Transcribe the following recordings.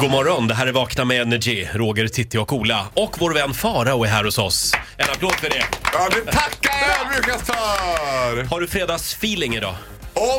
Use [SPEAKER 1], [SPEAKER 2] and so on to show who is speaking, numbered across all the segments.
[SPEAKER 1] God morgon, det här är Vakna med Energy, Roger, Titti och Ola. Och vår vän Farao är här hos oss. En applåd för det.
[SPEAKER 2] Ja, det tackar jag ödmjukast för!
[SPEAKER 1] Har du fredagsfeeling idag?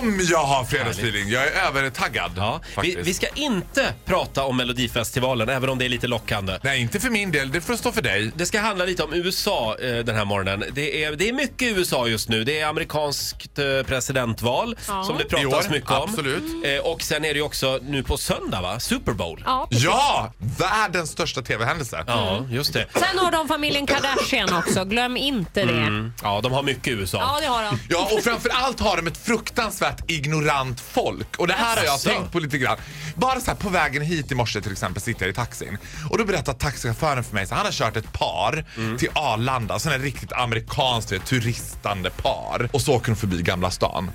[SPEAKER 2] Om jag har fredagsfeeling. Jag är övertaggad.
[SPEAKER 1] Ja. Vi,
[SPEAKER 2] faktiskt.
[SPEAKER 1] vi ska inte prata om Melodifestivalen, även om det är lite lockande.
[SPEAKER 2] Nej, inte för min del. Det får stå för dig.
[SPEAKER 1] Det ska handla lite om USA eh, den här morgonen. Det är, det är mycket USA just nu. Det är amerikanskt eh, presidentval som det pratas
[SPEAKER 2] I år,
[SPEAKER 1] mycket om.
[SPEAKER 2] absolut.
[SPEAKER 1] Eh, och sen är det ju också nu på söndag, va? Super Bowl.
[SPEAKER 3] Ja, precis.
[SPEAKER 2] Ja! Världens största tv-händelse.
[SPEAKER 1] Ja, just det.
[SPEAKER 3] Sen har de familjen Kardashian också, glöm inte det.
[SPEAKER 1] Ja, de har mycket i USA.
[SPEAKER 3] Ja, det har de.
[SPEAKER 2] Mm. Ja, och framförallt har de ett fruktansvärt ignorant folk. Och det här har jag
[SPEAKER 1] Asså.
[SPEAKER 2] tänkt på lite grann. Bara så här på vägen hit i morse till exempel sitter jag i taxin. Och då berättar taxichauffören för mig att han har kört ett par till Arlanda. Sådana riktigt amerikanskt du vet, turistande par. Och så åker de förbi Gamla stan.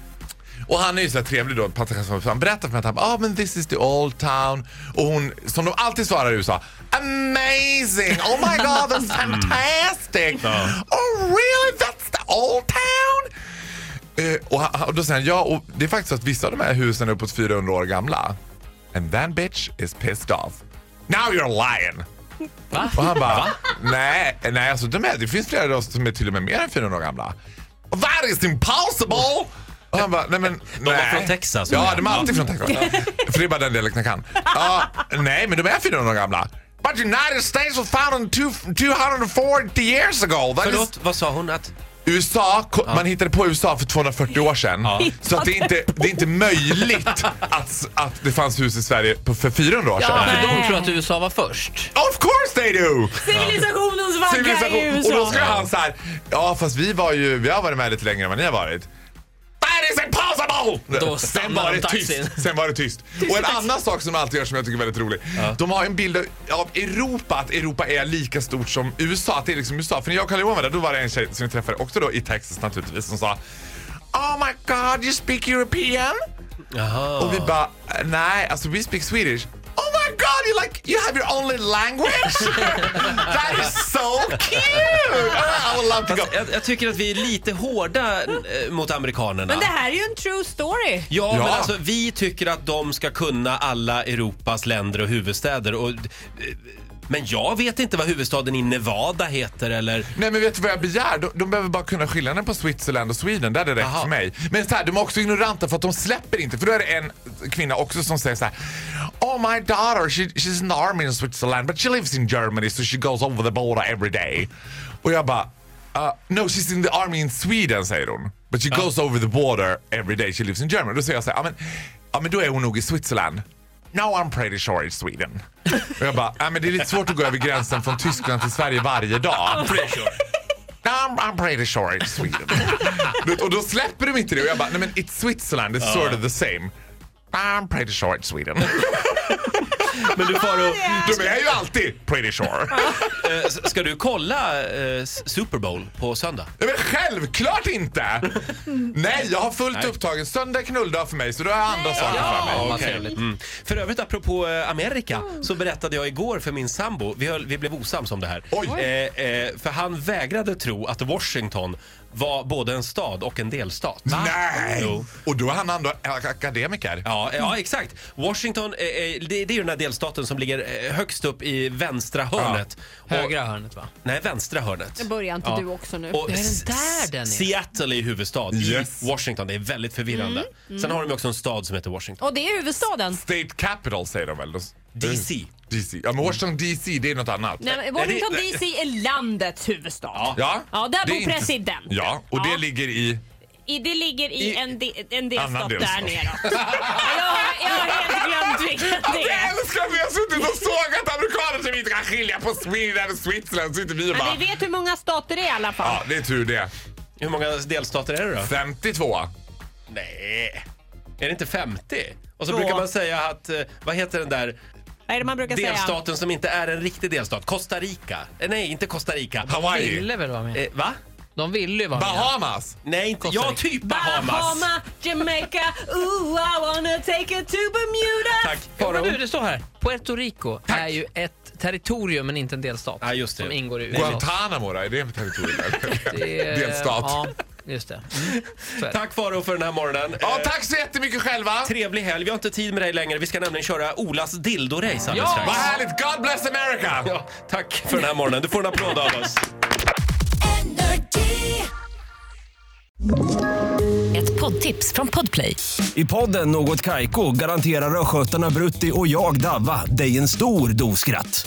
[SPEAKER 2] Och han är ju så här trevlig då, passageraren. Han berättar för mig att han ah, men this is the old town. Och hon, som de alltid svarar i USA, amazing! Oh my god, that's fantastic! Oh really, that's the old town! Eh, och, han- och då säger han, ja, och det är faktiskt så att vissa av de här husen är uppåt 400 år gamla. And that bitch is pissed off. Now you're lying! Och han bara, nej, nej alltså de här, det finns flera av oss som är till och med mer än 400 år gamla. That is impossible! Och han bara, nej men De
[SPEAKER 1] var
[SPEAKER 2] nej.
[SPEAKER 1] från Texas,
[SPEAKER 2] Ja,
[SPEAKER 1] menar
[SPEAKER 2] de är
[SPEAKER 1] han.
[SPEAKER 2] alltid från Texas. För det är bara den dialekten jag kan. Ja, nej, men de är 400 år gamla. But United States was founded two- 240 years ago. That is
[SPEAKER 1] Förlåt, vad sa hon? Att...
[SPEAKER 2] USA, ko- man hittade på USA för 240 år sedan. Så att det, är inte, det är inte möjligt att, att det fanns hus i Sverige på, för 400 år sedan.
[SPEAKER 4] Ja, för de
[SPEAKER 3] Nej.
[SPEAKER 4] tror att USA var först.
[SPEAKER 2] Of course they do!
[SPEAKER 3] Civilisationens vagga i
[SPEAKER 2] Civilisation.
[SPEAKER 3] USA.
[SPEAKER 2] Och då ska han så här, ja fast vi var ju, vi har varit med lite längre än vad ni har varit. That is impossible!
[SPEAKER 4] Då
[SPEAKER 2] sen
[SPEAKER 4] stannar
[SPEAKER 2] var
[SPEAKER 4] de
[SPEAKER 2] det
[SPEAKER 4] taxin.
[SPEAKER 2] tyst. Sen var det tyst. Och en annan sak som de alltid gör som jag tycker är väldigt rolig. De har en bild av Europa, att Europa är lika stort som USA. Att det är liksom USA. För när jag och Carl-Johan var där, då var det en tjej som vi träffade också då i Texas naturligtvis som sa Oh my god, you speak European?
[SPEAKER 1] Jaha.
[SPEAKER 2] Och vi bara, nej, alltså Uh, we speak Swedish. Oh my god, you like, you have your only language? That is so cute! I would love to go.
[SPEAKER 1] Fast jag, jag tycker att vi är lite hårda eh, mot amerikanerna.
[SPEAKER 3] Men det här är ju en true story.
[SPEAKER 1] Ja,
[SPEAKER 2] Ja.
[SPEAKER 1] men alltså vi tycker att de ska kunna alla Europas länder och huvudstäder. Och, eh, men jag vet inte vad huvudstaden i Nevada heter eller...
[SPEAKER 2] Nej men vet du vad jag begär? De, de behöver bara kunna skillnaden på Switzerland och Sweden, där är det rätt
[SPEAKER 1] Aha.
[SPEAKER 2] för mig. Men så här, de är också ignoranta för att de släpper inte. För då är det en kvinna också som säger så här. Oh my daughter, she, she's in the army in Switzerland but she lives in Germany so she goes over the border every day. Och jag bara, uh, no she's in the army in Sweden säger hon. But she goes over the border every day she lives in Germany. Då säger jag så här, ja men, ja, men då är hon nog i Switzerland. No, I'm pretty sure it's Sweden. Och jag bara, ja, men det är lite svårt att gå över gränsen från Tyskland till Sverige varje dag. No, I'm, I'm pretty sure it's Sweden. Du vet, och då släpper de inte det och jag bara, nej men it's Switzerland, it's sort of the same. I'm pretty sure it's Sweden.
[SPEAKER 1] Men du Faro,
[SPEAKER 2] De är ju alltid pretty sure.
[SPEAKER 1] eh, s- ska du kolla eh, s- Super Bowl på söndag?
[SPEAKER 2] Nej, men självklart inte! Nej, jag har fullt upptagen. Söndag är knulldag för mig så då har jag andra saker för mig.
[SPEAKER 4] vad
[SPEAKER 1] okej.
[SPEAKER 4] trevligt.
[SPEAKER 1] Mm. För övrigt apropå eh, Amerika
[SPEAKER 3] Mm.
[SPEAKER 1] så berättade jag igår för min sambo, vi, höll, vi blev osams om det här.
[SPEAKER 2] Oj.
[SPEAKER 1] Eh, eh, för han vägrade tro att Washington var både en stad och en delstat.
[SPEAKER 2] Nej!
[SPEAKER 1] Jo.
[SPEAKER 2] Och då är han ändå akademiker.
[SPEAKER 1] Ja, ja exakt. Washington, eh, eh, det, det är ju den här delstaten som ligger eh, högst upp i vänstra hörnet. Och-
[SPEAKER 4] Högra hörnet va?
[SPEAKER 1] Nej, vänstra hörnet.
[SPEAKER 3] Nu börjar inte du också nu.
[SPEAKER 1] Och
[SPEAKER 4] Det är den
[SPEAKER 1] S-
[SPEAKER 4] där den är.
[SPEAKER 1] Seattle är huvudstad.
[SPEAKER 2] Yes.
[SPEAKER 1] I Washington. Det är väldigt förvirrande.
[SPEAKER 3] Mm.
[SPEAKER 1] Sen har de också en stad som heter Washington.
[SPEAKER 3] Och det är huvudstaden.
[SPEAKER 2] State capital säger de väl?
[SPEAKER 1] DC.
[SPEAKER 2] DC. Ja men Washington DC det är något annat.
[SPEAKER 3] Nej, men
[SPEAKER 1] Nej, det-
[SPEAKER 3] Washington
[SPEAKER 1] nej.
[SPEAKER 3] DC är landets huvudstad. Ja,
[SPEAKER 2] Ja,
[SPEAKER 3] där
[SPEAKER 2] det är
[SPEAKER 3] bor
[SPEAKER 2] inte-
[SPEAKER 3] presidenten.
[SPEAKER 2] Ja, och det
[SPEAKER 3] Ja.
[SPEAKER 2] ligger i...
[SPEAKER 3] I, det ligger i,
[SPEAKER 1] I-
[SPEAKER 3] en, de, en delstat
[SPEAKER 2] Annan
[SPEAKER 3] där
[SPEAKER 2] delstat.
[SPEAKER 3] neråt. jag, har- jag har helt glömt vilken det
[SPEAKER 2] Jag
[SPEAKER 3] är.
[SPEAKER 2] älskar att vi har suttit och sågat amerikaner som inte kan skilja på Sweden och Switzerland. Så inte vi och bara...
[SPEAKER 3] Men vi vet hur många stater det är i alla fall.
[SPEAKER 2] Ja, det är tur det.
[SPEAKER 1] Hur många delstater är det då?
[SPEAKER 2] 52.
[SPEAKER 1] Nej. Är det inte 50? Och så
[SPEAKER 3] Två.
[SPEAKER 1] brukar man säga att, eh, vad heter den där
[SPEAKER 3] Vad är det man brukar säga?
[SPEAKER 1] delstaten som inte är en riktig delstat? Costa Rica. Eh, nej, inte Costa Rica.
[SPEAKER 2] Hawaii.
[SPEAKER 4] Ville väl vara med?
[SPEAKER 1] Eh, va?
[SPEAKER 4] De ville ju vara med.
[SPEAKER 2] Bahamas.
[SPEAKER 1] Nej, inte.
[SPEAKER 4] Costa
[SPEAKER 1] Ja,
[SPEAKER 4] Rica.
[SPEAKER 1] typ Bahamas.
[SPEAKER 3] Bahama, Jamaica, ooh I wanna take it to Bermuda.
[SPEAKER 1] Tack.
[SPEAKER 4] Ja, men
[SPEAKER 1] Faro.
[SPEAKER 4] du, det står här. Puerto Rico är ju ett territorium men inte en delstat.
[SPEAKER 1] Ja, just det.
[SPEAKER 4] Som ingår i USA.
[SPEAKER 2] Guantanamo då? Är det en territorium?
[SPEAKER 4] Det är-
[SPEAKER 2] Delstat.
[SPEAKER 4] Ja, Just det. Mm. Så är det.
[SPEAKER 1] Tack Faro för den här morgonen.
[SPEAKER 2] Ja,
[SPEAKER 1] Eh,
[SPEAKER 2] tack så jättemycket själva!
[SPEAKER 1] Trevlig helg. Vi har inte tid med dig längre. Vi ska nämligen köra Olas dildo-race alldeles
[SPEAKER 4] Ja!
[SPEAKER 1] strax.
[SPEAKER 2] Vad härligt! God bless America!
[SPEAKER 1] Ja, tack för den här morgonen. Du får en applåd av oss.
[SPEAKER 5] Ett poddtips från Podplay.
[SPEAKER 6] I podden Något Kaiko garanterar östgötarna Brutti och jag, Davva, dig en stor dos skratt.